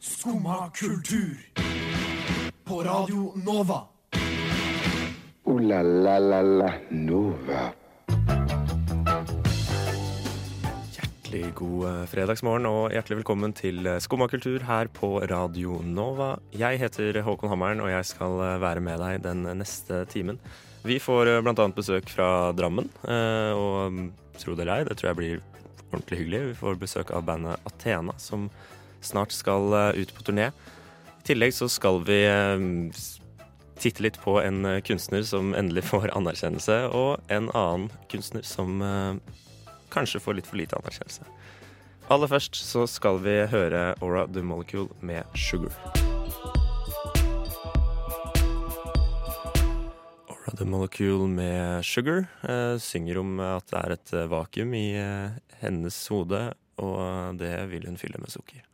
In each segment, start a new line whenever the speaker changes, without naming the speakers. Skumma kultur. På Radio Nova.
Ooh la la la la Nova.
Hjertelig god eh, fredagsmorgen og hjertelig velkommen til eh, Skumma kultur her på Radio Nova. Jeg heter Håkon Hammeren, og jeg skal eh, være med deg den neste timen. Vi får eh, blant annet besøk fra Drammen, eh, og mm, tro det eller ei, det tror jeg blir ordentlig hyggelig. Vi får besøk av bandet Athena, som snart skal eh, ut på turné. I tillegg så skal vi eh, s- titte litt på en eh, kunstner som endelig får anerkjennelse, og en annen kunstner som eh, kanskje får litt for lite anerkjennelse. Aller først så skal vi høre Aura The Molecule med Sugar. Aura The Molecule med Sugar eh, synger om at det er et eh, vakuum i eh, hennes hode, og det vil hun fylle med sukker.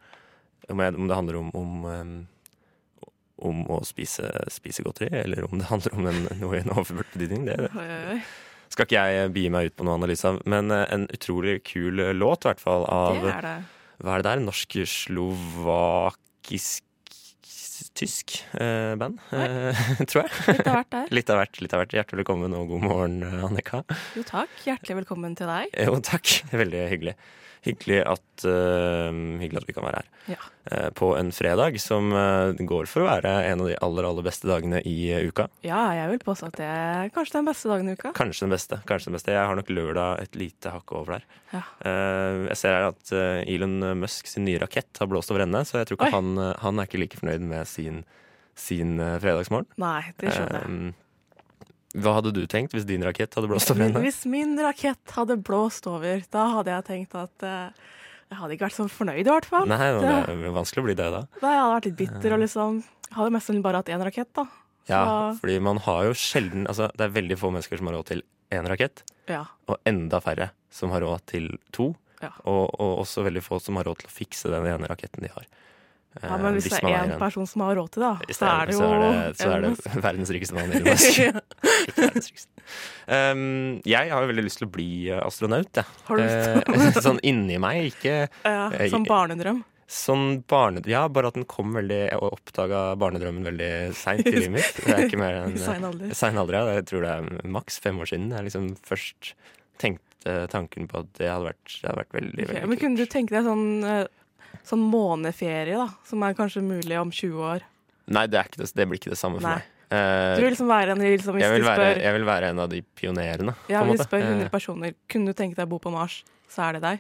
Om, jeg, om det handler om, om eh, om å spise, spise godteri, eller om det handler om en, noe i en overført betydning, det
Oi, oi, oi.
skal ikke jeg bie meg ut på noen analyse av, men eh, en utrolig kul eh, låt, i hvert fall, av
Det er det.
Hva er det der? Norsk-slovakisk-tysk eh, band, eh, tror jeg.
Litt av hvert der.
Litt av hvert. litt av hvert. Hjertelig velkommen og god morgen, eh, Annika.
Jo takk, hjertelig velkommen til deg.
Jo, takk. Veldig hyggelig. Hyggelig at, eh, hyggelig at vi kan være her.
Ja.
Eh, på en fredag som eh, går for å være en av de aller, aller beste dagene i eh, uka.
ja, jeg vil påstå at det er kanskje den beste dagen i uka.
Kanskje den beste. kanskje den beste. Jeg har nok lørdag et lite hakk over der.
Ja.
Eh, jeg ser her at eh, Elon Musk sin nye rakett har blåst over ende, så jeg tror ikke
Oi.
han, eh, han er ikke like fornøyd med sin, sin eh, fredagsmorgen.
Nei, det skjønner jeg.
Eh, hva hadde du tenkt hvis din rakett hadde blåst over
Men
ende?
Hvis min rakett hadde blåst over, da hadde jeg tenkt at eh, jeg hadde ikke vært så fornøyd, i hvert fall.
Nei, det
Ja.
er jo vanskelig å bli det da.
Da jeg hadde vært litt bitter og liksom Hadde mest sannsynlig bare hatt én rakett, da.
Ja,
Så-
fordi man har jo sjelden Altså, det er veldig få mennesker som har råd til én rakett,
Ja.
og enda færre som har råd til to.
Ja.
Og, og også veldig få som har råd til å fikse den ene raketten de har.
ja
Eh,
men hvis, det
man
er
eier
én
en.
person som har råd til det, da,
Hvis
så er det jo
så er det, så er det verdens rikeste mann. Elon Musk. Ikke verdens rikeste. Um, jeg har jo veldig lyst til å bli eh, astronaut, jeg.
Har du lyst til
Eh, sånn Eh, inni meg, ikke
Ja, Som barnedrøm.
sånn barne... Ja, bare at den kom veldig og oppdaga barnedrømmen veldig seint i livet mitt. Det er ikke mer enn eh,
I sein alder.
Sein alder, ja. Jeg tror det er maks fem år siden jeg liksom først tenkte tanken på at det hadde vært, det hadde vært veldig,
Ok,
veldig
men kunne du
kult.
tenke deg sånn, eh, sånn måneferie, da? Som er kanskje mulig om 20 år.
Nei, det, er ikke det, det blir ikke det samme for
Nei.
meg. Eh,
Du vil liksom være en liksom, hvis
jeg, vil
de
være,
spør,
jeg vil være en av de pionerene.
ja,
på en
hvis de
måte.
spør
Eh,
100 personer Kunne du tenke deg å bo på Mars, så er det deg.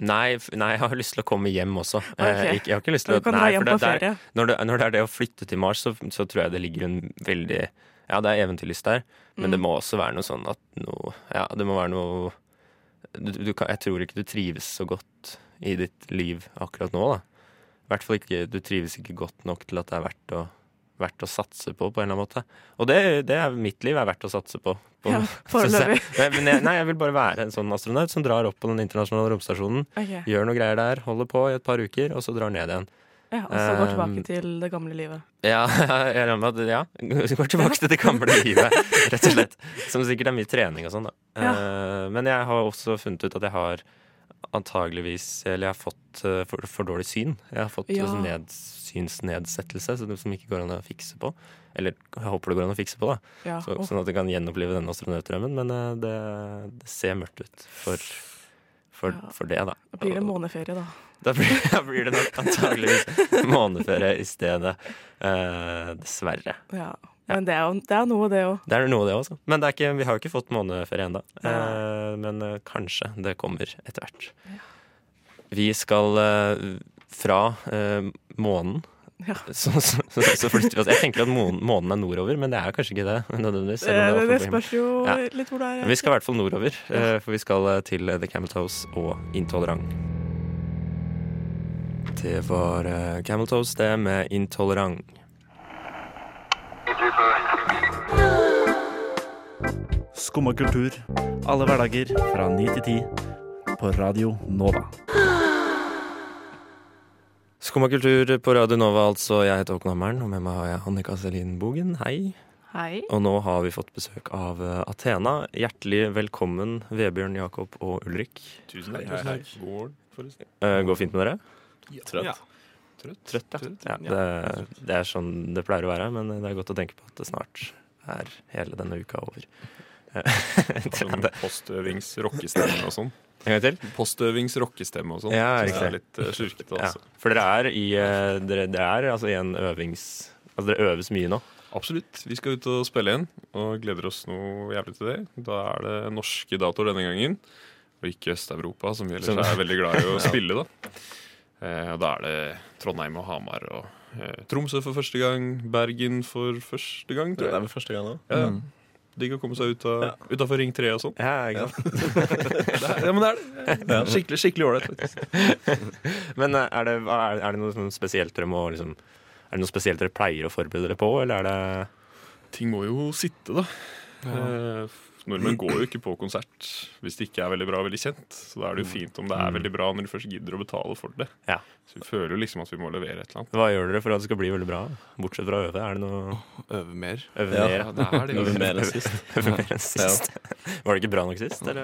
Nei, f- nei, jeg har lyst til å komme hjem også.
Ok.
Eh, ikke, jeg har ikke lyst til
Du
å,
kan dra
nei,
hjem
for
på
det, det er-
ferie.
når, det, når det er det å flytte til Mars, så, så tror jeg det ligger en veldig Ja, det er eventyrlyst der, men
Mm.
det må også være noe sånn at noe Ja, det må være noe du, du, kan- Jeg tror ikke du trives så godt i ditt liv akkurat nå, da. I hvert fall ikke Du trives ikke godt nok til at det er verdt å verdt å satse på, på en eller annen måte. Og det, det er mitt liv er verdt å satse på. på
Ja,
synes jeg.
foreløpig.
Men jeg- Men jeg, nei, jeg vil bare være en sånn astronaut som drar opp på den internasjonale romstasjonen
Ok.
gjør noe greier der, holder på i et par uker, og så drar ned igjen.
Ja, og så gå tilbake
Um,
til det gamle livet.
Ja, jeg regner med at ja, går tilbake til det gamle livet, rett og slett. Som sikkert er mye trening og sånn, da. Eh, Men jeg har også funnet ut at jeg har antageligvis Eller jeg har fått eh, for, for dårlig syn. Jeg har fått
Ja.
liksom ned, synsnedsettelse så det- som ikke går an å fikse på. Eller jeg håper det går an å fikse på, da.
Ja,
Så,
og,
sånn at jeg kan gjenopplive denne astronautdrømmen. Men eh, det, det ser mørkt ut for, for,
Ja.
for det, da.
da blir det måneferie, da.
Da blir, da blir det nok antageligvis måneferie i stedet. Eh, dessverre.
Ja. Men det er jo det er noe, det òg.
Det er noe, det også. Men det er ikke, vi har jo ikke fått måneferie ennå.
Nei.
men eh, kanskje det kommer etter hvert. Vi skal eh, fra eh, månen.
Ja.
Så, så, så, så flytter vi oss. Jeg tenker at månen, månen er nordover, men det er kanskje ikke det. nødvendigvis.
Det,
selv om det er
Eh, det
oppe på himmelen.
spørs jo
Ja.
litt hvor det er.
Vi skal i hvert fall nordover, eh, for vi skal eh, til eh, The Camel Toes og Intolerant. Det var eh, Camel Toes, det, med Intolerant.
Skumma kultur. Alle hverdager fra ni til ti på Radio Nova.
Skumma kultur på Radio Nova, altså. Jeg heter Håkon Hammeren, og med meg har jeg Annika Selin Bogen. Hei.
Hei.
Og nå har vi fått besøk av eh, Athena. Hjertelig velkommen, Vebjørn, Jakob og Ulrik.
Tusen takk. Tusen takk. Går, forresten.
Eh, Går fint med dere?
Trøtt.
Ja.
Trøtt.
Trøtt, ja.
Trøtt,
ja det, det er sånn det pleier å være, men det er godt å tenke på at det snart er hele denne uka over.
Som postøvings rockestemme og sånn.
En gang til?
Postøvings rockestemme og sånn.
Ja,
Så
riktig.
Det er litt eh, slurkete,
Ja.
altså.
For dere er i eh, dere, Det er altså i en øvings... Altså dere øves mye nå.
Absolutt. Vi skal ut og spille igjen, og gleder oss noe jævlig til det. Da er det norske datoer denne gangen, og ikke Øst-Europa, som vi ellers
Som-
er veldig glad i å spille, da. Eh, Da er det Trondheim og Hamar og eh, Tromsø for første gang, Bergen for første gang,
Det
tror
er
jeg.
vel første gang nå.
Ja, ja. Digg å komme seg ut av, utafor Ring 3 og sånn.
Ja, ikke sant?
Det er- Ja, men det er det. Skikkelig skikkelig ålreit. faktisk.
Men eh, er det, hva er, er det noe sånn spesielt dere må liksom Er det noe spesielt dere pleier å forberede dere på, eller er det
Ting må jo sitte, da. Eh, Nordmenn går jo ikke på konsert hvis det ikke er veldig bra og veldig kjent. Så da er det jo fint om det er veldig bra når du først gidder å betale for det.
Mm. Ja.
Så vi føler jo liksom at vi må levere et eller annet.
Hva gjør dere for at det skal bli veldig bra? Bortsett fra å øve. Er det noe
Øve mer.
øve
Ja.
mer?
det er
Øve mer enn sist.
Øve mer enn sist? Var det ikke bra nok sist, eller?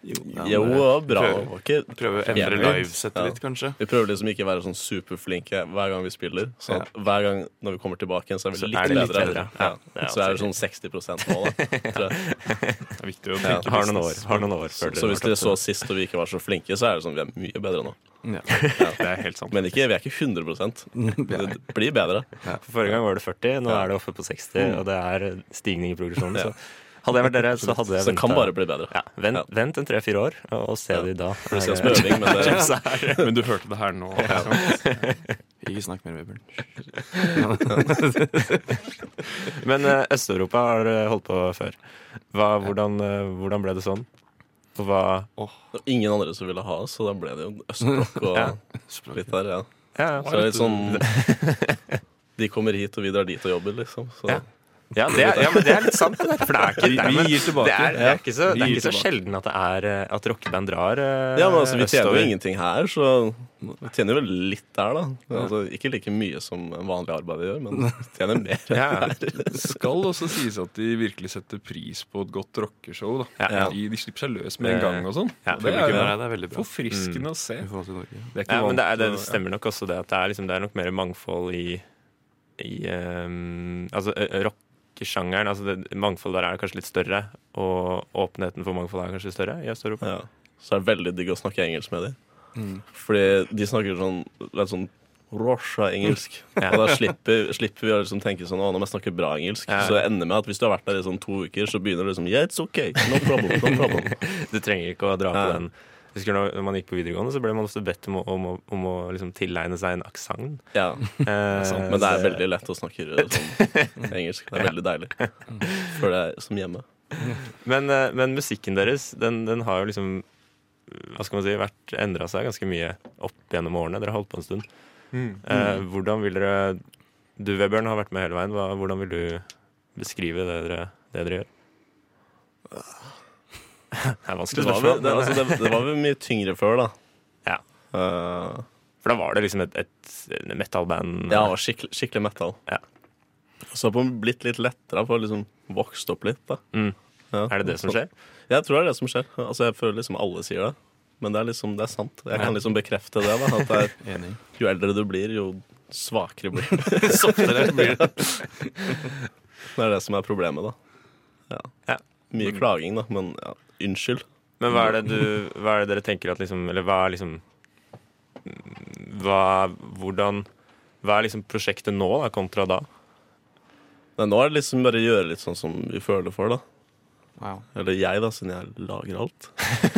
Jo,
Jo,
eh,
det var bra.
prøver.
Det var ikke
Prøve å
endre
livesettet
Ja.
litt, kanskje.
vi prøver liksom ikke å være sånn superflinke hver gang vi spiller. Så at hver gang når vi kommer tilbake igjen, så er vi
Så
litt,
er det litt
bedre.
bedre. Ja,
Ja.
det er
Så er
alltid
det sånn 60 nå, da. Tror jeg.
Det er viktig å
Ja.
tenke
Har noen år, har noen år
Så,
før
så hvis dere
når
så sist og vi ikke var så flinke, så er det sånn vi er mye bedre nå.
Det er helt sant.
Men ikke, vi er ikke 100 Det det blir bedre.
For Forrige gang var det 40, nå er
Ja.
det oppe på 60, og det er stigning i progresjonen. Så hadde jeg vært dere, så hadde jeg
Så det kan
ventet-
bare bli bedre.
ja, vent,
Ja.
vent en tre-fire år, og, og se de da.
For det ses
Er-
med øving, men eh, det,
Så er det-
Men du hørte det her nå.
Ikke snakk mer, Vebjørn.
Men eh, Øst-Europa har eh, holdt på før. Hva, hvordan, eh, hvordan ble det sånn? Og hva
det var ingen andre som ville ha oss, så da ble det jo østblokk og
Ja.
litt der. Ja.
ja,
Så det er litt sånn De kommer hit, og vi drar dit og jobber, liksom. Så
Ja. ja, det, er- ja, men det er litt sant, det der. For det er ikke, det er,
Vi
men,
gir
det
tilbake.
er, det er ikke så, det er
Vi gir
ikke så
tilbake.
sjelden at det er eh, at rockeband drar eh,
Ja, men altså, vi tjener
østover.
jo ingenting her, så vi tjener vel litt der, da. Altså, ikke like mye som en vanlig arbeid vi gjør, men vi tjener mer.
Ja.
skal også sies at de virkelig setter pris på et godt rockeshow. da
Ja.
De, de slipper seg løs med en gang og sånn.
Ja,
Og det
Publikum her,
er
det er veldig
jo
bra.
forfriskende å se.
I forhold til Norge.
Det er ikke
Ja, Mm. men det, er,
vant
det
til å-
stemmer nok også det at det er, liksom, det er nok mer mangfold i, i ehm, Altså ø- ø- rockesjangeren. Altså det, mangfold der er kanskje litt større, og åpenheten for mangfold er kanskje større i Øst-Europa.
Ja. Så er det veldig digg å snakke engelsk med dem.
Mm.
Fordi de snakker sånn litt sånn Rosha-engelsk.
Ja.
Og da slipper, slipper vi å liksom tenke sånn Å, nå må jeg snakke bra engelsk.
Ja.
Så det ender med at hvis du har vært der i sånn to uker, så begynner du liksom Yeah, it's okay. No problem. No problem.
Du trenger ikke å dra på
Ja.
den. Jeg Husker når når man gikk på videregående, så ble man ofte bedt om å, om å, om å liksom tilegne seg en aksent.
Ja.
Eh,
Men det er veldig lett å snakke sånn engelsk. Det er veldig deilig. Føler jeg som hjemme.
men, eh, men musikken deres, den, den har jo liksom hva skal man si, vært endra seg ganske mye opp gjennom årene. Dere har holdt på en stund.
Mm.
Eh, hvordan vil dere Du, Vebjørn, har vært med hele veien. Hva, hvordan vil du beskrive det dere, det dere gjør? Det er vanskelig
Det var, vel,
spørsmål.
det,
men-
altså, det, det var vel mye tyngre før, da.
Ja.
Eh,
For da var det liksom et, et metallband.
ja, det var skikkelig, skikkelig metal.
Ja.
Så har man blitt litt lettere på å liksom vokst opp litt, da.
Mm.
Ja.
Er det det som skjer?
Jeg tror det er det som skjer. Altså, jeg føler liksom alle sier det. Men det er liksom, det er sant. Jeg kan liksom bekrefte det. da at det er,
Enig.
Jo eldre du blir, jo svakere blir du.
Softere blir det.
Det er det som er problemet, da. Ja.
Ja. Mm.
Mye klaging, da, men ja, unnskyld.
Men hva er det, du, hva er det dere tenker at liksom Eller hva er liksom hva, Hvordan Hva er liksom prosjektet nå da, kontra da?
Men nå er det liksom bare å gjøre litt sånn som vi føler for, da.
Wow.
Eller jeg, da, siden jeg lager alt.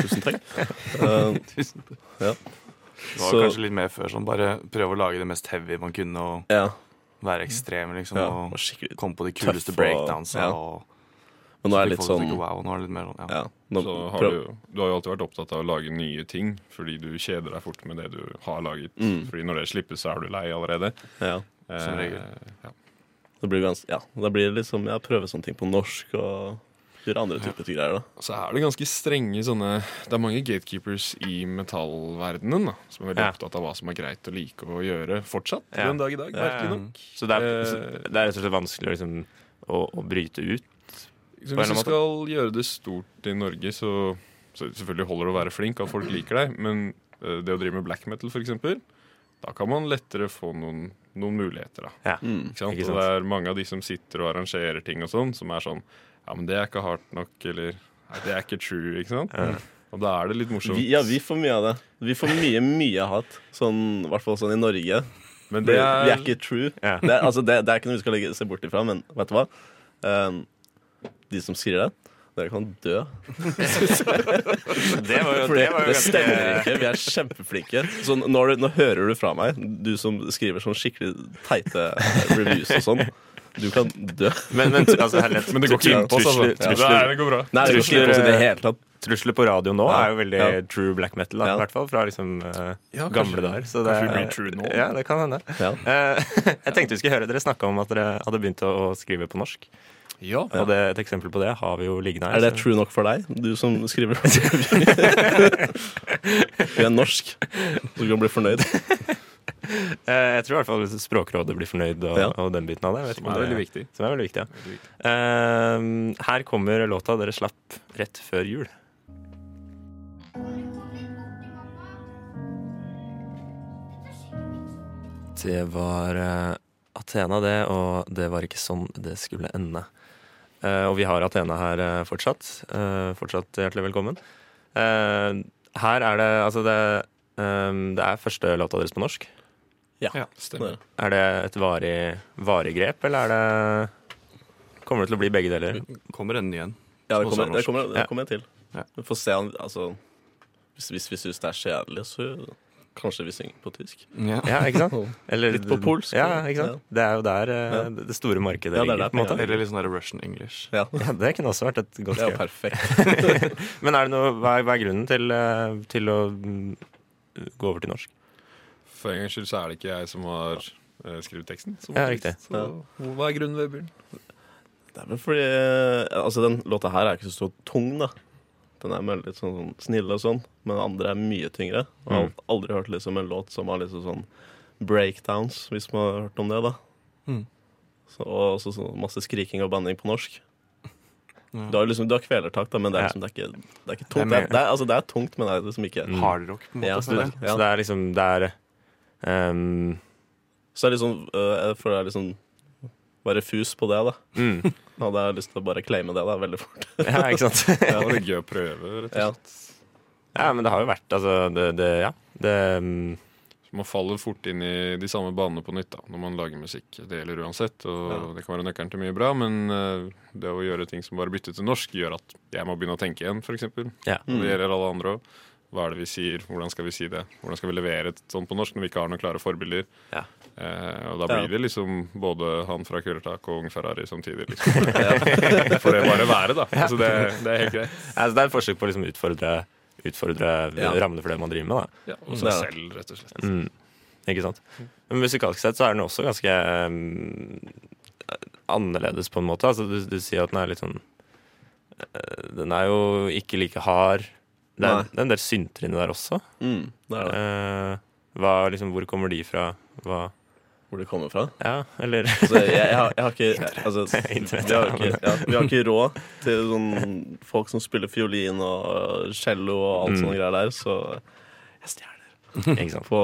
Tusen takk. Eh,
Det var
Så-
kanskje litt mer før sånn. Bare prøve å lage det mest heavy man kunne, og
ja,
være ekstrem, liksom.
ja.
Og
Skikkelig.
komme på de
Tøff
kuleste
og-
breakdansa.
ja.
Og
Men nå
de
er det litt
folk
sånn
tenker, wow, nå er det litt mer sånn ja.
ja, nå
Så har
prøv-
du, jo- du har jo alltid vært opptatt av å lage nye ting, fordi du kjeder deg fort med det du har laget.
Mm.
Fordi når det slippes, så er du lei allerede.
ja.
Eh,
regel.
ja.
Det blir ganske, ja, da blir det liksom Jeg prøver sånne ting på norsk og gjør andre typer greier. da
Så er det ganske strenge sånne Det er mange gatekeepers i metallverdenen da, som er veldig
Ja.
opptatt av hva som er greit å like å gjøre fortsatt.
Ja.
Den dag i dag,
Ja, ja.
Mm.
merkelig nok.
Så det er, så
Eh.
det er rett og slett vanskelig å liksom, å, å bryte ut.
Så
På en
hvis
eller
du
annen
skal gjøre det stort i Norge, så, så selvfølgelig holder det å være flink, at folk liker deg, men eh, det å drive med black metal, f.eks., da kan man lettere få noen, noen muligheter. da.
Ja.
Ikke sant?
Ikke
Og det
sant.
er mange av de som sitter og arrangerer ting og sånn, som er sånn Ja, men det er ikke hardt nok, eller Nei, det er ikke true, ikke sant? Og da er det litt morsomt.
Vi, ja, vi får mye av det. Vi får mye, mye hat. Sånn, I hvert fall sånn i Norge.
men
Det
det
er,
er,
vi er ikke true.
Ja.
Det, er, altså, det, det er ikke noe vi skal legge, se bort ifra, men vet du hva? Um, de som skriver det, dere kan dø.
Det var jo,
For det,
det var jo
det stemmer ikke. Vi er kjempeflinke. Så nå, har du- nå hører du fra meg, du som skriver sånn skikkelig teite reviews og sånn. Du kan dø.
Men, men, altså, herlighet,
Men det går ikke inn på oss, altså.
trusler,
Nei,
trusler,
det går bra.
Nei, det går ikke
Trusler,
i det
eh,
hele tatt.
Trusler på radio nå
Ja.
er jo veldig
Ja.
true black metal, da,
Ja.
i hvert fall fra liksom eh,
Ja, kanskje-
gamle dager. Så det,
kanskje vi blir true nå.
Ja, det kan hende.
Ja.
Eh, jeg tenkte vi skulle høre Dere snakka om at dere hadde begynt å, å skrive på norsk.
Ja.
Og det, et eksempel på det har vi jo liggende her.
Er det
så-
true nok for deg, du som skriver? Du er norsk, så du kan bli fornøyd.
Eh, jeg tror i hvert fall Språkrådet blir fornøyd, og,
Ja.
og den biten av det. Jeg vet
Som
ikke om
er
det-
veldig viktig.
Som er veldig viktig, ja. Eh, her kommer låta dere slapp rett før jul. Det var eh, Athena, det, og det var ikke sånn det skulle ende. Eh, og vi har Athena her eh, fortsatt. Eh, fortsatt hjertelig velkommen. Eh, her er det Altså, det, eh, det er første låta deres på norsk.
Ja, stemmer.
Er det et varig, varig grep, eller er det Kommer det til å bli begge deler?
Kommer en ny en.
Ja, det
Som
kommer,
også er
det
norsk.
kommer, det
Ja.
kommer jeg til.
Ja.
Vi får se om altså, hvis, hvis vi syns det er kjedelig, så kanskje vi synger på tysk.
Ja.
Ja, ikke sant? Eller,
Litt på polsk,
Ja, ikke sant? Det er jo der eh, det store markedet
Ja, det er
ligger,
der
på en måte.
Eller litt sånn der Russian English.
Ja,
Ja, det kunne også vært et godt
det er jo
grep.
perfekt.
Men er det noe, hva, er, hva er grunnen til, eh, til å mm, gå over til norsk?
For en gangs skyld så er det ikke jeg som har eh, skrevet teksten. Som
Ja,
artist.
riktig.
Så, Hva er grunnen, Vebjørn?
Det er vel fordi eh, Altså, den låta her er ikke så stor tung, da. Den er med litt sånn, sånn snille og sånn, men den andre er mye tyngre. Og jeg har aldri hørt liksom en låt som har liksom sånn breakdowns, hvis man har hørt om det, da.
Mm.
Så, og også sånn masse skriking og banning på norsk. Du har jo liksom, du har kvelertak, da, men det er, liksom, det er, ikke, det er ikke tungt. Det er,
mer-
det er, altså, det er tungt, men det er liksom ikke
Hardrock, på en
Ja,
måte.
så, det,
føler jeg.
ja.
Så det er liksom Det er ehm,
så det er liksom øh, Jeg føler jeg liksom var refus på det, da.
mm,
Da Hadde jeg lyst til å bare claime det da, veldig fort.
Ja, ikke sant?
Det var litt gøy å prøve, rett og
Ja.
slett.
Ja, men det har jo vært Altså, det, det Ja. Det mm,
Så Man faller fort inn i de samme banene på nytt da, når man lager musikk. Det gjelder uansett, og
Ja.
det kan være nøkkelen til mye bra, men eh, det å gjøre ting som bare bytter til norsk, gjør at jeg må begynne å tenke igjen, f.eks.
Ja.
Mm.
Det gjelder alle andre òg. Hva er det vi sier, hvordan skal vi si det? Hvordan skal vi levere et sånt på norsk når vi ikke har noen klare forbilder?
Ja.
Eh, og da
Ja.
blir det liksom både han fra Kvelertak og Ung Ferrari samtidig. Liksom. For det bare være, da. Altså, det, det er helt greit.
Altså, det er et forsøk på å liksom utfordre, utfordre
Ja.
rammene for det man driver med, da.
Ja, og
Det
seg
er det.
selv, rett og slett.
Mm. Ikke sant? Men musikalsk sett så er den også ganske eh, annerledes, på en måte. Altså, du, du sier at den er litt sånn eh, Den er jo ikke like hard. Det
Nei.
er, det er en del synter inni der også.
Mm, det er det.
Eh, hva, liksom, hvor kommer de fra? Hva
Hvor det kommer fra.
Ja, eller
Altså, jeg, jeg, har, jeg har ikke altså,
Internett,
vi, har
ja,
ikke, ja, vi har ikke råd til sånn folk som spiller fiolin og cello og alt
Mm.
sånne greier der, så jeg stjeler
Ikke sant.
på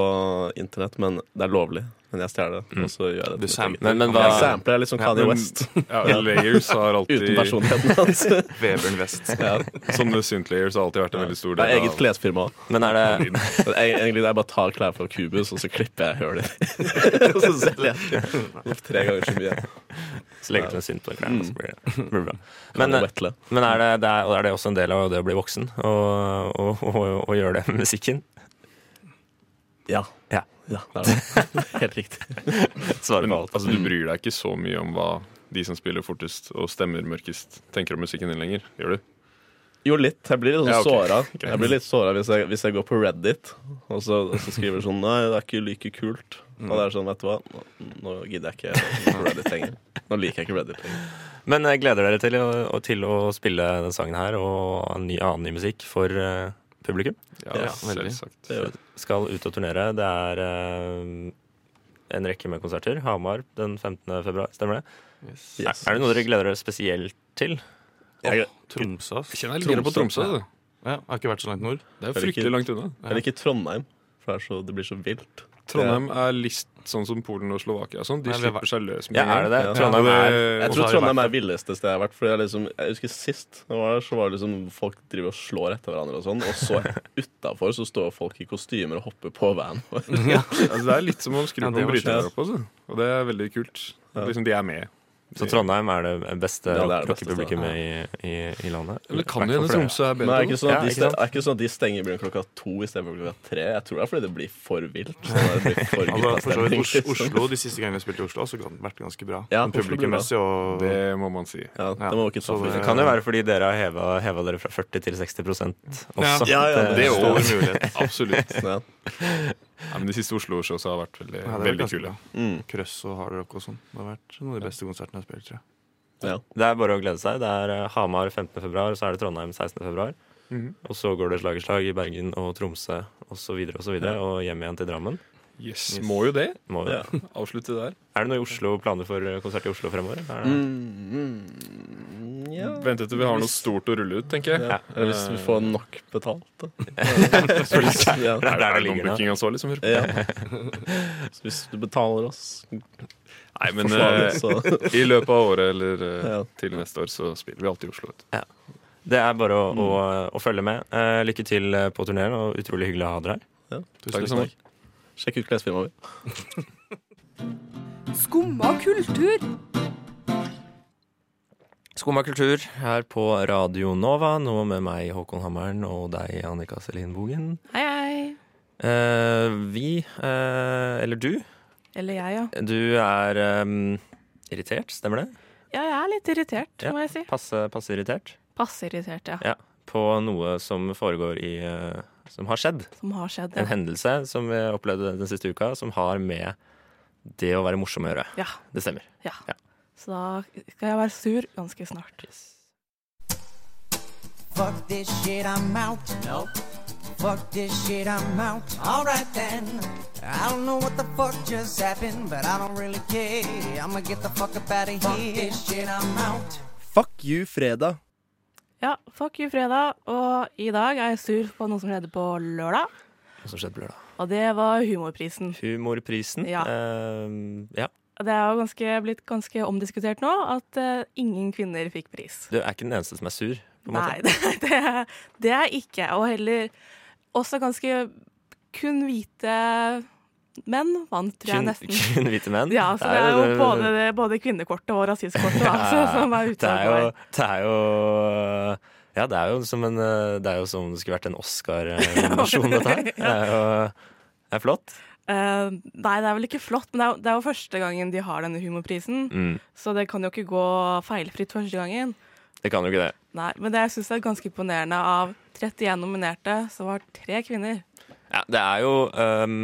internett. Men det er lovlig. Men jeg stjeler
Mm.
det, og så gjør jeg det.
Du
til
sampler.
musikk.
Men, men hva
Jeg sampler jeg er litt som Kanye
men-
West,
Ja, layers har alltid
uten personligheten hans.
Vebjørn West.
Ja.
Sånne synth-layers har alltid vært en veldig stor
Det
del
er eget
av
klesfirma òg.
Men er det
Egentlig det er bare å ta klær fra Cubus, og så klipper jeg høl i det. Og så selger jeg det for tre ganger så mye.
Så legger du en synt på klærne, så blir det blir Mm. det bra.
Men,
Men, eh, men er, det, det er, er det også en del av det å bli voksen? Å å- å- å gjøre det med musikken?
ja.
Ja.
ja. Det er det. Helt riktig.
Svaret
Men,
på alt.
altså, du bryr deg ikke så mye om hva de som spiller fortest og stemmer mørkest, tenker om musikken din lenger. Gjør du?
Jo, litt. Jeg blir litt sånn
Ja, ok.
såra.
Greit.
Jeg blir litt såra hvis, jeg- hvis jeg går på Reddit og så, og så skriver sånn Nei, det er ikke like kult.
Mm.
Og det er sånn, vet du hva, nå, nå gidder jeg ikke å gå på Reddit lenger. Nå liker jeg ikke Reddit lenger.
Men eh, gleder dere til å, å- til å spille den sangen her og en ny, annen ny musikk for eh, publikum?
Ja,
Ja,
veldig.
selvsagt.
Det gjør jeg.
Skal ut og turnere. Det er eh, en rekke med konserter. Hamar den 15. februar, stemmer det?
Yes.
Yes.
Er, er det noe dere gleder dere spesielt til?
Jeg-
Tromsø. ass.
Jeg kjenner jeg litt på Tromsø.
Ja, jeg har ikke vært så langt nord.
Det er jo
Eller ikke-
fryktelig langt unna.
Ja.
Eller ikke Trondheim, for det, er så, det blir så vilt.
Trondheim er list sånn som Polen og Slovakia. og Sånn. De
Nei, vi har vært-
slipper seg løs med
Ja,
en
er det
gang.
det?
Ja.
Trondheim er
Jeg
Eh, Og så
tror
har det
Trondheim
vært-
er villeste stedet jeg har vært. For jeg, liksom, jeg husker Sist jeg var der, så var det liksom folk driver og slår etter hverandre, og sånn Og så utafor så står folk i kostymer og hopper på vanen vår.
Altså, det er litt som å skru
Ja,
på
det
en
var
bryter
sjukt.
der oppe. Altså. Og det er veldig kult. Liksom, de er med.
Så Trondheim er det beste
Ja, det er det beste
rockepublikummet i, i, i landet?
Eller
Hvertfall
kan det
for
hende
det.
Tromsø er
Men er
bedre?
det ikke sånn
Ja,
at de,
ikke
ste-
sant?
er det ikke sånn at de stenger byen klokka to istedenfor klokka tre? Jeg tror det er fordi det blir for vilt. Jeg tror det blir for
Altså, for så vidt
guttastemning,
Os-
liksom.
Oslo, De siste gangene jeg spilte i Oslo, så har det vært ganske bra. Men
Ja, Oslo blir bra.
Publikummessig og
Det må man si.
Ja,
Ja,
det må vi ikke ta
så
for
det-
Det
gitt.
kan jo være fordi dere har heva, heva dere fra 40 til 60 også.
Ja, ja,
Det er
jo-
stor mulighet.
Absolutt.
Ja.
Ja, men de siste Oslo-showsa har vært veldig,
Ja, det er
veldig
ganske
kule.
bra.
Mm,
Krøss og hardrock og sånn. Det har vært noen av de beste konsertene jeg har spilt, tror jeg.
ja.
Det er bare å glede seg. Det er eh, Hamar 15. februar, så er det Trondheim 16. februar. Og så går det slag i slag i Bergen og Tromsø osv. Og, så videre, og, så videre, og hjem igjen til Drammen.
Yes,
Yes.
Må jo det.
Må jo.
Ja.
Avslutte der.
Er det noe i Oslo planer for eh, konsert i Oslo fremover? Er det-
Mm, ja.
Vent etter vi har noe stort å rulle ut, tenker jeg. Eh,
Ja. Eller hvis vi får nok betalt, da. Ja.
Det er der det
noen
ligger, da.
bookingansvarlig som hører på?
Ja. Så hvis du betaler oss
Nei, men
forsvarlig,
eh,
så
i løpet av året eller eh,
Ja.
til neste år så spiller vi alltid i Oslo. Vet du.
Det er bare å, å, å følge med. Eh, lykke til eh, på turneen, og utrolig hyggelig å ha dere her.
ja.
Takk
Tusen
i samme
takk. Sjekk ut klesfirmaet mitt.
Skumma kultur.
Skumma kultur her på Radio Nova, nå med meg, Håkon Hammeren, og deg, Annika Selin Bogen.
Hei, hei.
Eh, vi, eh, eller du,
Eller jeg, ja.
du er eh, irritert, stemmer det?
Ja, jeg er litt irritert,
Ja.
må jeg si.
Passe, passe irritert
Passe irritert, ja.
Ja. på noe som foregår i eh, Som har skjedd.
Som har skjedd.
En
Ja.
hendelse som vi opplevde den siste uka, som har med det å være morsom å gjøre.
ja.
Det stemmer.
ja.
Ja.
Så da skal jeg være sur ganske snart.
Fuck this shit, I'm out. No. Fuck this shit, I'm out. Alright then. I don't know what the fuck just happened, but I don't really care. I'ma get the fuck up out of here. Fuck this shit, I'm out.
Fuck you, fredag.
Ja, fuck you, fredag. Og i dag er jeg sur på noe som skjedde på lørdag,
Hva som skjedde på lørdag?
og det var humorprisen.
Humorprisen.
Ja.
Eh, ja.
Det er jo ganske, blitt ganske omdiskutert nå at eh, ingen kvinner fikk pris.
Du er ikke den eneste som er sur. På en
Nei,
måte.
det, det, det er ikke. Og heller også ganske kun hvite menn vant, tror jeg
Kun,
nesten.
kun hvite menn.
Ja, så det er jo både, det, både kvinnekortet og rasistkortet da, som- som er
det er
utsatt
jo,
for.
det er jo Ja, det er jo som en eh, Det er jo som om det skulle vært en Oscar-nominasjon, dette her. Det er jo det er flott.
Eh, nei, det er vel ikke flott, men det er, jo- det er jo første gangen de har denne humorprisen.
Mm,
Så det kan jo ikke gå feilfritt første gangen.
Det kan jo ikke det.
Nei, Men det jeg syns er ganske imponerende. Av 31 nominerte, så var tre kvinner.
Ja, det er jo ehm,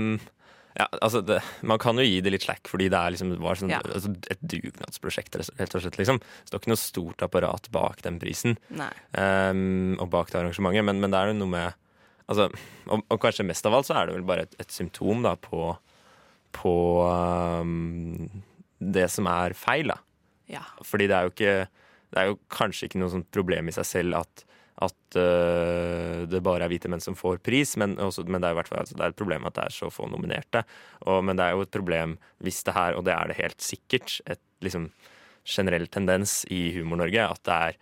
ja, altså det, Man kan jo gi det litt slack, fordi det er liksom, det var sånn,
Ja.
altså et dugnadsprosjekt, rett og slett. Liksom. Så det er ikke noe stort apparat bak den prisen
Nei.
ehm, og bak det arrangementet, men, men det er jo noe med altså, og, og kanskje mest av alt så er det vel bare et, et symptom da, på, på ehm, det som er feil. da
Ja.
fordi det er jo ikke Det er jo kanskje ikke noe sånt problem i seg selv at, at øh, det bare er hvite menn som får pris, men, også, men det er jo i hvert fall altså, det er et problem at det er så få nominerte. Og, men det er jo et problem hvis det her, og det er det helt sikkert, et liksom generell tendens i Humor-Norge at det er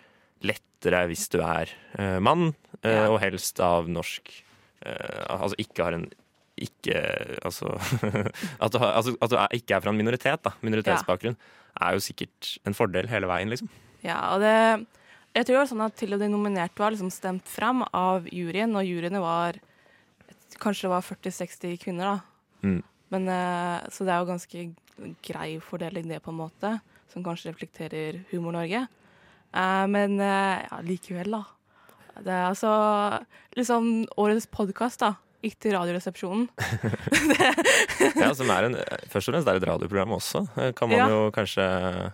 lettere hvis du er øh, mann, øh,
Ja.
og helst av norsk øh, Altså ikke har en ikke Altså at du, har, altså, at du er, ikke er fra en minoritet, da. Minoritetsbakgrunn er jo sikkert en fordel hele veien, liksom.
Ja, og det Jeg tror det var sånn at til og de nominerte var liksom stemt fram av juryen, og juryene var Kanskje det var 40-60 kvinner, da.
Mm.
Men, eh, så det er jo ganske grei fordeling, det, på en måte, som kanskje reflekterer Humor-Norge. Eh, men eh, ja, likevel, da. Det er altså liksom Årets podkast, da. Gikk til Radioresepsjonen.
Ja, som er en, eh, først og fremst det er et radioprogram også, eh, kan man
Ja.
jo kanskje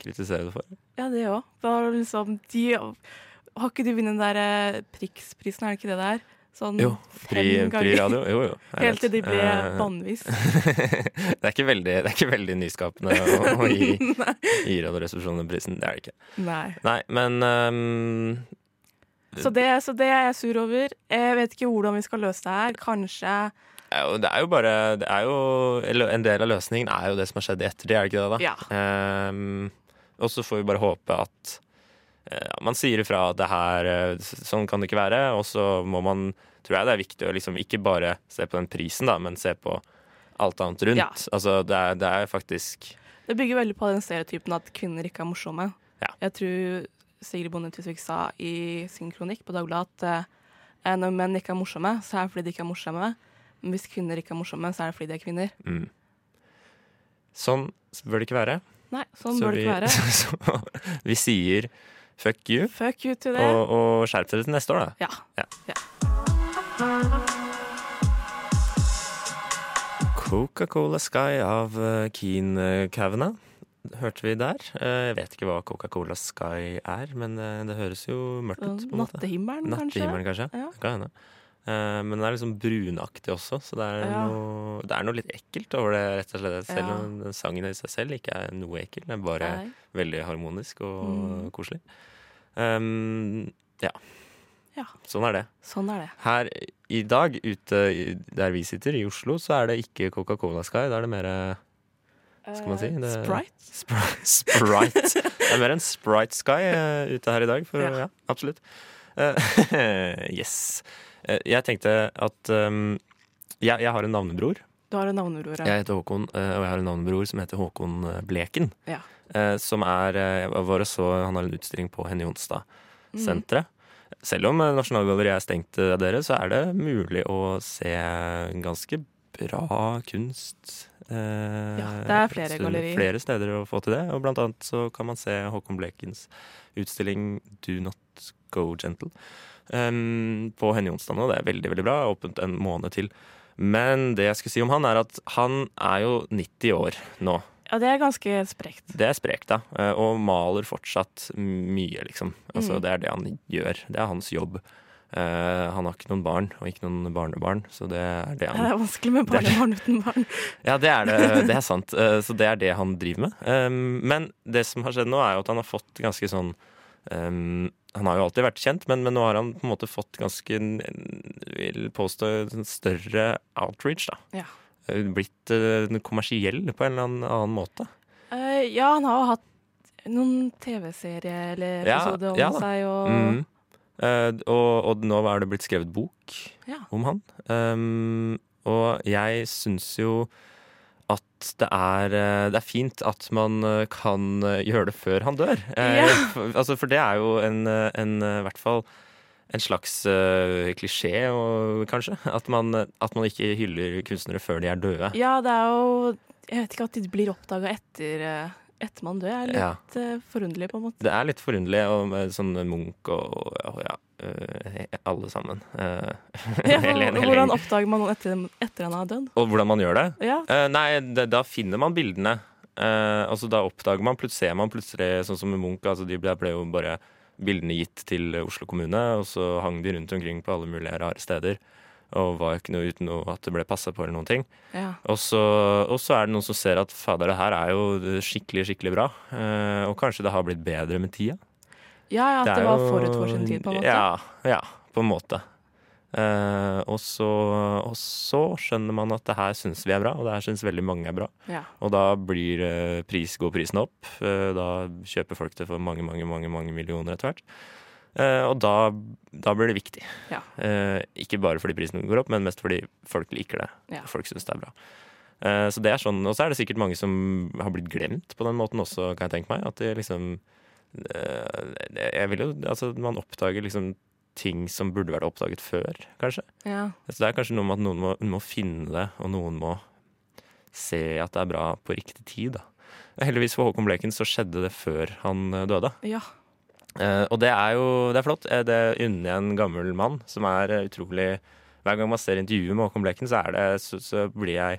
kritisere det for.
Ja, det òg. Liksom, de Har ikke de vunnet den der eh, Prix-prisen, er det ikke det der? Sånn
Jo, Pri,
fem
pri
ganger.
radio. Jo, jo. det er
Helt til de
rett.
ble
Eh,
bannvist.
det, er ikke veldig, det er ikke veldig nyskapende å, å gi, gi Radioresepsjonen den prisen. Det er det ikke.
Nei.
Nei, men ehm,
Så det, så det er jeg sur over. Jeg vet ikke hvordan vi skal løse det her. Kanskje
Det er jo, det er jo bare det er jo, eller En del av løsningen er jo det som har skjedd etter det, er det ikke det? da?
Ja.
Ehm, og så får vi bare håpe at eh, man sier ifra at det her eh, s- Sånn kan det ikke være. Og så må man Tror jeg det er viktig å liksom ikke bare se på den prisen, da, men se på alt annet rundt.
Ja.
Altså, det er, det er faktisk
Det bygger veldig på den stereotypen at kvinner ikke er morsomme.
Ja.
Jeg tror Sigrid Bonde Tusvik sa i sin kronikk på Dagbladet at eh, når menn ikke er morsomme, så er det fordi de ikke er morsomme. Men hvis kvinner ikke er morsomme, så er det fordi de er kvinner.
mm. Sånn bør det ikke være.
Nei, sånn
Så
bør det
vi-
ikke være.
så vi sier fuck you,
Fuck you to det.
og, og skjerp dere til neste år, da.
Ja.
Ja.
ja.
Coca-Cola Sky av eh, Keen eh, Kavanagh hørte vi der. Eh, Jeg vet ikke hva Coca-Cola Sky er, men eh, det høres jo mørkt ut. på en måte.
Nattehimmelen, kanskje?
Nattehimmelen, kanskje.
Ja.
Det kan hende. Eh, Men den er liksom brunaktig også, så det er,
Ja.
noe, det er noe litt ekkelt over det. rett og slett Selv
Ja.
om den sangen i seg selv ikke er noe ekkel, den er bare
Nei.
veldig harmonisk og
Mm.
koselig. Um, ja.
Ja.
Sånn er det.
Sånn er det.
Her i dag, ute i- der vi sitter, i Oslo, så er det ikke Coca-Cola Sky. Da er det mer eh, skal man si?
Eh,
Det-
Sprite?
Spri- Sprite. Det er mer en Sprite Sky eh, ute her i dag. For,
Ja.
ja. absolutt. Eh, yes. Eh, jeg tenkte at um, jeg, jeg har en navnebror.
Du har en navnebror, ja.
Jeg heter Håkon, eh, og jeg har en navnebror som heter Håkon eh, Bleken.
Ja.
Eh, Som er eh, Jeg var og så Han har en utstilling på Henny
Mm.
Jonstad-senteret. Selv om eh, Nasjonalgalleriet er stengt, eh, dere, så er det mulig å se ganske bra kunst. eh,
Ja, det er flere gallerier.
Flere steder å få til det. Og blant annet så kan man se Håkon Blekens utstilling 'Do Not Go Gentle' em, på Henny Jonstad nå. Det er veldig, veldig bra. Åpent en måned til. Men det jeg skulle si om han, er at han er jo 90 år nå.
ja, det er ganske sprekt.
Det er sprekt, da. Eh, Og maler fortsatt mye, liksom. Altså,
Mm.
Det er det han gjør. Det er hans jobb. Eh, han har ikke noen barn, og ikke noen barnebarn, så det er det
Det
han
er vanskelig med
Det er-
barnebarn uten barn.
Ja, det er det. Det er sant. Eh, Så det er det han driver med. Um, Men det som har skjedd nå, er jo at han har fått ganske sånn um, Han har jo alltid vært kjent, men, men nå har han på en måte fått ganske jeg vil påstå, sånn større outreach, da.
Ja.
Eh, Blitt eh, kommersiell på en eller annen- annen måte.
Eh, ja, han har jo hatt noen TV-serier eller
Ja,
episoder om
ja da.
seg, og
Mhm. Eh, og, og nå er det blitt skrevet bok
Ja.
om han. Um, og jeg syns jo at det er, eh, det er fint at man eh, kan eh, gjøre det før han dør. Eh,
Ja.
for, altså, for det er jo en, eh, en eh, i hvert fall en slags eh, klisjé, og, kanskje. At man, at man ikke hyller kunstnere før de er døde.
Ja, det er jo Jeg vet ikke at de blir oppdaga etter, eh, etter man dør. Jeg er litt
Ja.
eh, forunderlig, på en måte.
Det er litt forunderlig og med sånn Munch og, og ja, eh, alle sammen. Eh,
Ja,
hele- hele
hvordan
gjengen.
oppdager man noen etter, etter han er død?
og hvordan man gjør det.
Ja,
Eh, nei, da- da finner man bildene. Eh, altså Da oppdager man, plut- ser man plutselig, sånn som med Munch, altså de ble, ble jo bare bildene gitt til Oslo kommune, og så hang de rundt omkring på alle mulige rare steder. Og var ikke noe uten noe at det ble passa på eller noen ting.
ja.
Og så, og så er det noen som ser at fader, det her er jo skikkelig, skikkelig bra. Eh, og kanskje det har blitt bedre med tida.
ja, ja at det,
er
var
jo-
forut for sin tid, på en måte.
Ja, ja på en måte. Eh, og, så, og så skjønner man at det her syns vi er bra, og det her syns veldig mange er bra.
Ja.
Og da blir eh, pris, går prisen opp. Eh, Da kjøper folk det for mange, mange, mange, mange millioner etter hvert. Eh, Og da, da blir det viktig.
Ja.
Eh, Ikke bare fordi prisen går opp, men mest fordi folk liker det.
Ja.
Folk syns det er bra. Eh, Så det er sånn, Og så er det sikkert mange som har blitt glemt på den måten også, kan jeg tenke meg. At det liksom eh, Jeg vil jo Altså, man oppdager liksom ting som burde vært oppdaget før, kanskje.
ja.
Så det er kanskje noe med at noen må, må finne det, og noen må se at det er bra på riktig tid. Da. Heldigvis for Håkon Bleken så skjedde det før han eh, døde.
ja.
Eh, og det er jo det er flott. Eh, Det unner jeg en gammel mann som er eh, utrolig Hver gang man ser intervjuet med Håkon Bleken, så, er det, så, så blir jeg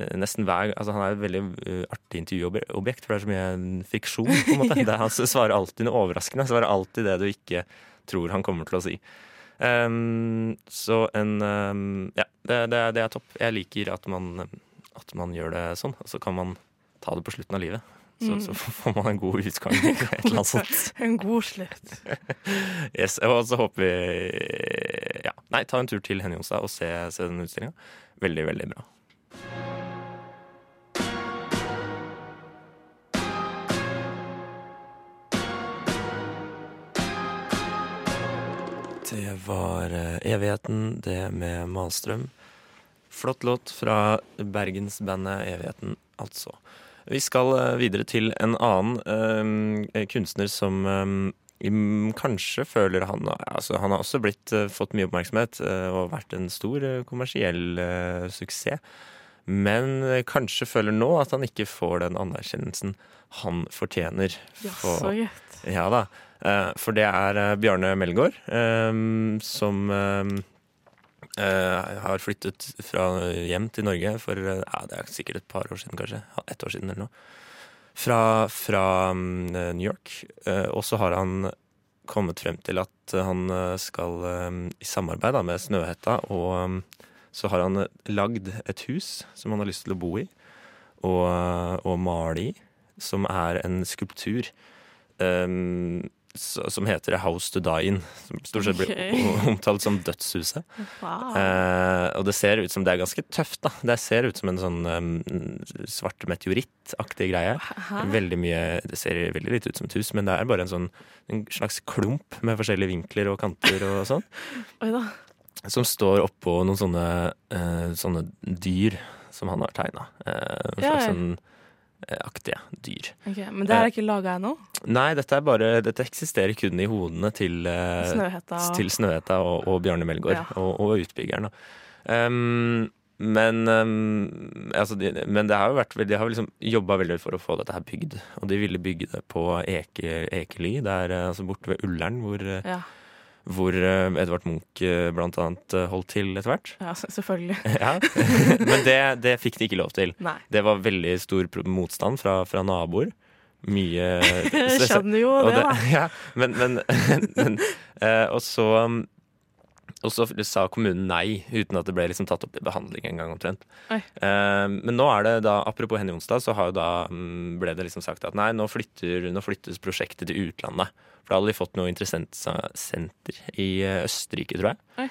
eh, Nesten hver altså Han er et veldig eh, artig intervjuobjekt, for det er så mye fiksjon. på en måte. Det er, han svarer alltid noe overraskende. Han svarer alltid det du ikke tror han kommer til å si. Ehm, så en ehm, Ja, det, det, er- det er topp. Jeg liker at man, at man gjør det sånn. Og så kan man ta det på slutten av livet. Så,
Mm.
så får man en god utgang. eller et eller annet sånt.
En god slutt.
Yes, og så håper vi ja. Nei, ta en tur til Henny Jonstad og se, se den utstillinga. Veldig, veldig bra. Det var eh, Evigheten, det med Malstrøm. Flott låt fra bergensbandet Evigheten, altså. Vi skal eh, videre til en annen eh, kunstner som eh, im- kanskje føler han altså Han har også blitt, eh, fått mye oppmerksomhet eh, og vært en stor eh, kommersiell eh, suksess. Men eh, kanskje føler nå at han ikke får den anerkjennelsen han fortjener.
Jaså,
For-
gitt.
ja da. Eh, For det er eh, Bjarne Melgaard eh, som eh, eh, har flyttet fra hjem til Norge for eh, ja, det er sikkert et par år siden, kanskje. Ja, Ett år siden eller noe. Fra, fra mm, eh, New York. Eh, Og så har han kommet frem til at han eh, skal eh, i samarbeid da, med Snøhetta, og eh, så har han eh, lagd et hus som han har lyst til å bo i, og, eh, og male i, som er en skulptur eh, s- som heter A House to Die In, som stort sett blir
Ok.
o- omtalt som dødshuset.
Wow.
Eh, og det ser ut som det er ganske tøft, da. Det ser ut som en sånn eh, svart meteorittaktig greie.
Hæ?
Veldig mye, Det ser veldig lite ut som et hus, men det er bare en, sånn, en slags klump med forskjellige vinkler og kanter og sånn,
Oi da.
som står oppå noen sånne, eh, sånne dyr som han har tegna. en
Ja,
slags
ja.
sånn eh, aktige dyr.
Ok, men det
Eh.
er ikke laga ennå?
Nei, dette, er bare, dette eksisterer kun i hodene til eh,
Snøhetta.
til Snøhetta og, og Bjarne Melgaard
Ja.
og, og utbyggeren. Da. Um, men, um, altså de, men det har jo vært, vel- de har liksom jobba veldig for å få dette her bygd. Og de ville bygge det på Eke, Ekely, der, eh, altså borte ved Ullern, hvor, eh,
Ja.
hvor eh, Edvard Munch eh, blant annet eh, holdt til etter hvert.
Ja, s- selvfølgelig.
Ja. Men det, det fikk de ikke lov til.
Nei.
Det var veldig stor pro- motstand fra, fra naboer. Mye
Skjønner jo
Og
det, da.
Ja, men, men, men eh, Og så um, og så sa kommunen nei, uten at det ble liksom tatt opp til behandling en gang omtrent.
Oi.
Eh, men nå er det da, apropos Henny Jonstad, så har jo da, mm, ble det liksom sagt at nei, nå, flytter, nå flyttes prosjektet til utlandet. For da hadde de fått noe interessentsenter i eh, Østerrike, tror jeg
Oi.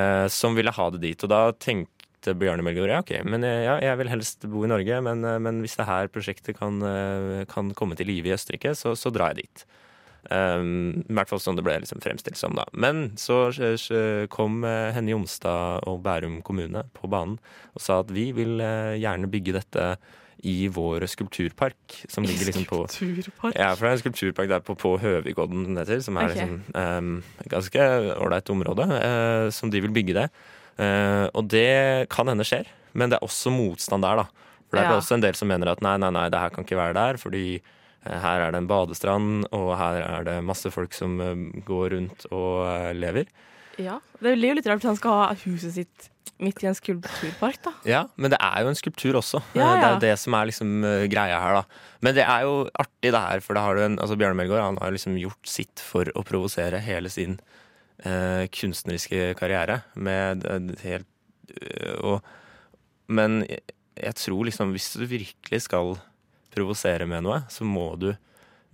eh, som ville ha det dit. Og da tenkte Bjarne Melgaard ja, ok, men eh, ja, jeg vil helst bo i Norge, men, eh, men hvis det her prosjektet kan, eh, kan komme til live i Østerrike, så, så drar jeg dit. Um, I hvert fall sånn det ble liksom fremstilt som, da. Men så eh, s- kom eh, Henny Jonstad og Bærum kommune på banen og sa at vi vil eh, gjerne bygge dette i vår skulpturpark, som ligger liksom på
Skulpturpark?
ja, for det er en skulpturpark der på, på Høvigodden, den heter, som er
Ok.
liksom, em, et ganske ålreit område, eh, som de vil bygge det. Eh, og det kan hende skjer, men det er også motstand der, da. For det er
Ja.
også en del som mener at nei, nei, nei, det her kan ikke være der, fordi eh, her er det en badestrand, og her er det masse folk som eh, går rundt og eh, lever.
Ja. Det blir jo litt rart hvis han skal ha huset sitt midt i en skulpturpark, da.
Ja, Men det er jo en skulptur også.
Ja,
Det er
ja.
jo det som er liksom eh, greia her, da. Men det er jo artig, det her. For da har du en, altså Bjarne Melgaard han har jo liksom gjort sitt for å provosere hele sin eh, kunstneriske karriere. Med eh, helt eh, og, Men jeg, jeg tror liksom hvis du virkelig skal provosere med noe, så må du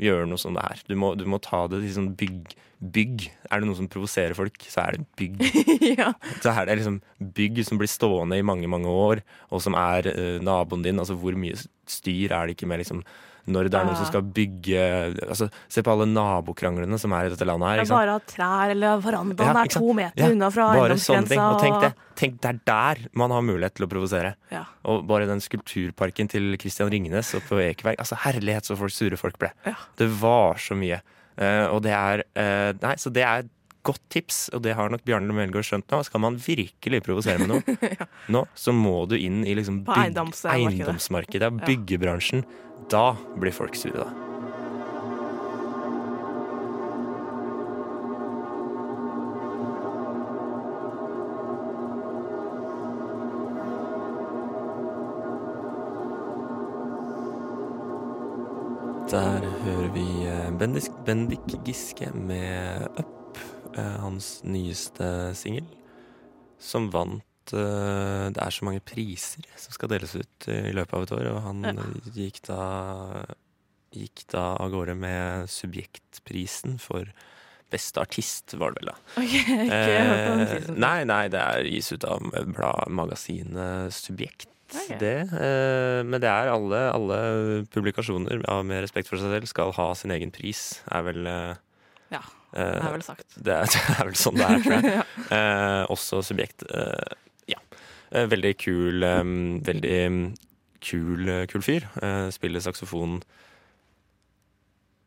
gjøre noe som det her. Du må, du må ta det liksom bygg. Bygg. Er det noe som provoserer folk, så er det bygg.
ja.
Så her er det liksom bygg som blir stående i mange, mange år, og som er eh, naboen din. Altså hvor mye styr er det ikke med liksom når det er noen som skal bygge altså, Se på alle nabokrangene som er i dette landet her.
Det er
Ikke sant?
bare at trær eller
Ja,
verandaen er
ikke sant?
to meter
Ja,
unna fra
bare sånne ting.
eiendomsgrensa.
Og tenk det. Tenk, det er der man har mulighet til å provosere.
Ja.
Og bare den skulpturparken til Christian Ringnes oppe på Ekeberg. Altså herlighet så folk, sure folk ble. Det var så mye. Eh, og det er eh, Nei, så det er et godt tips, og det har nok Bjarne Melgaard skjønt nå. Skal man virkelig provosere med noe nå, så må du inn i liksom
På
bygg-
eiendomsmarkedet.
eiendomsmarkedet,
Ja.
byggebransjen. Da blir folk sure, da. Der hører vi eh, Bendik, Bendik Giske med Up, eh, hans nyeste singel, som vant eh, Det er så mange priser som skal deles ut eh, i løpet av et år, og han
Ja.
eh, gikk da gikk da av gårde med Subjektprisen for beste artist, var det vel, da. Eh,
Ok, ikke hørt om den prisen før.
nei, nei, det er gis ut av blad- magasinet Subjekt.
Ok.
Det, eh, men det er alle, alle publikasjoner av med respekt for seg selv skal ha sin egen pris, er vel eh,
Ja,
eh,
det er vel sagt.
Det er, det er vel sånn det er, tror jeg. eh, også subjekt. Eh, ja. Eh, veldig kul eh, Veldig mm, kul, eh, kul fyr. Eh, spiller saksofon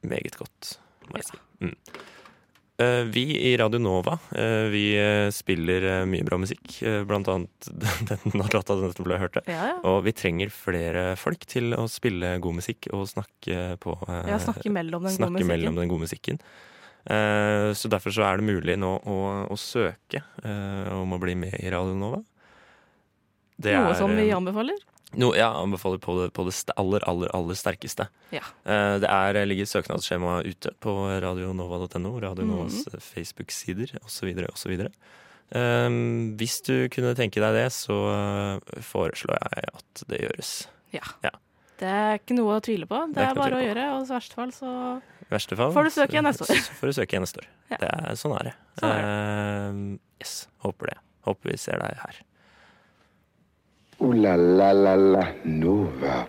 meget godt, må jeg si. Mm. Eh, vi i Radio Nova eh, vi eh, spiller eh, mye bra musikk, eh, blant annet den når låta du nettopp ble hørt.
Ja, ja.
Og vi trenger flere folk til å spille god musikk og snakke på eh,
Ja, snakke mellom den gode
snakke
musikken.
mellom den gode musikken. Eh, Så derfor så er det mulig nå å, å søke eh, om å bli med i Radio Nova. Det
Noe
er,
som vi
eh,
anbefaler.
noe jeg anbefaler på det, på det st- aller, aller, aller sterkeste.
Ja.
Eh, Det er, ligger et søknadsskjema ute på radionova.no, Radio
Mhm.
Novas eh, Facebook-sider osv. osv. Um, hvis du kunne tenke deg det, så eh, foreslår jeg at det gjøres.
Ja.
Ja.
Det er ikke noe å tvile på. Det,
Det er ikke
er
noe å
bare å
tvile
gjøre, og i verste fall så
I verste fall
Får du søke igjen neste år.
så Får du søke igjen neste år.
Ja.
Det er, sånn er det.
Sånn
Eh, yes. Håper det. Håper vi ser deg her.
Ooh la la la la Nova.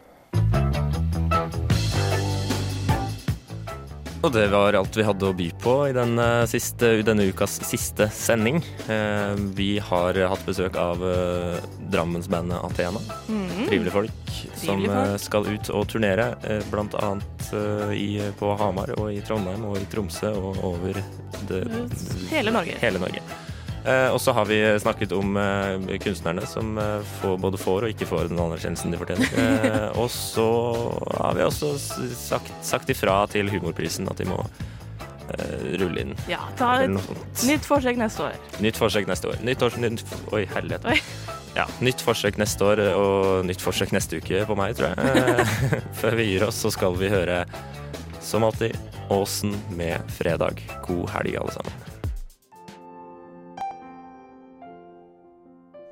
Og det var alt vi hadde å by på i denne, siste, i denne ukas siste sending. Eh, vi har hatt besøk av eh, Drammensbandet Athena.
Mhm.
Mm.
Trivelige folk som
Trivelige folk.
eh, skal ut og turnere, eh, blant annet eh, i, på Hamar og i Trondheim og i Tromsø og over det,
Hele Norge.
Hele Norge. Eh, og så har vi snakket om eh, kunstnerne som eh, får, både får og ikke får den anerkjennelsen de fortjener. Eh, og så har vi også s- sagt, sagt ifra til Humorprisen at de må eh, rulle inn.
Ja, ta
Eller
et
noe sånt.
nytt forsøk neste år.
Nytt forsøk neste år. Nytt, års, nytt, oi, helvete.
Oi.
Ja, nytt forsøk neste år eh, og nytt forsøk neste uke på meg, tror jeg. Eh, Før vi gir oss, så skal vi høre, som alltid, Åsen med fredag. God helg, alle sammen.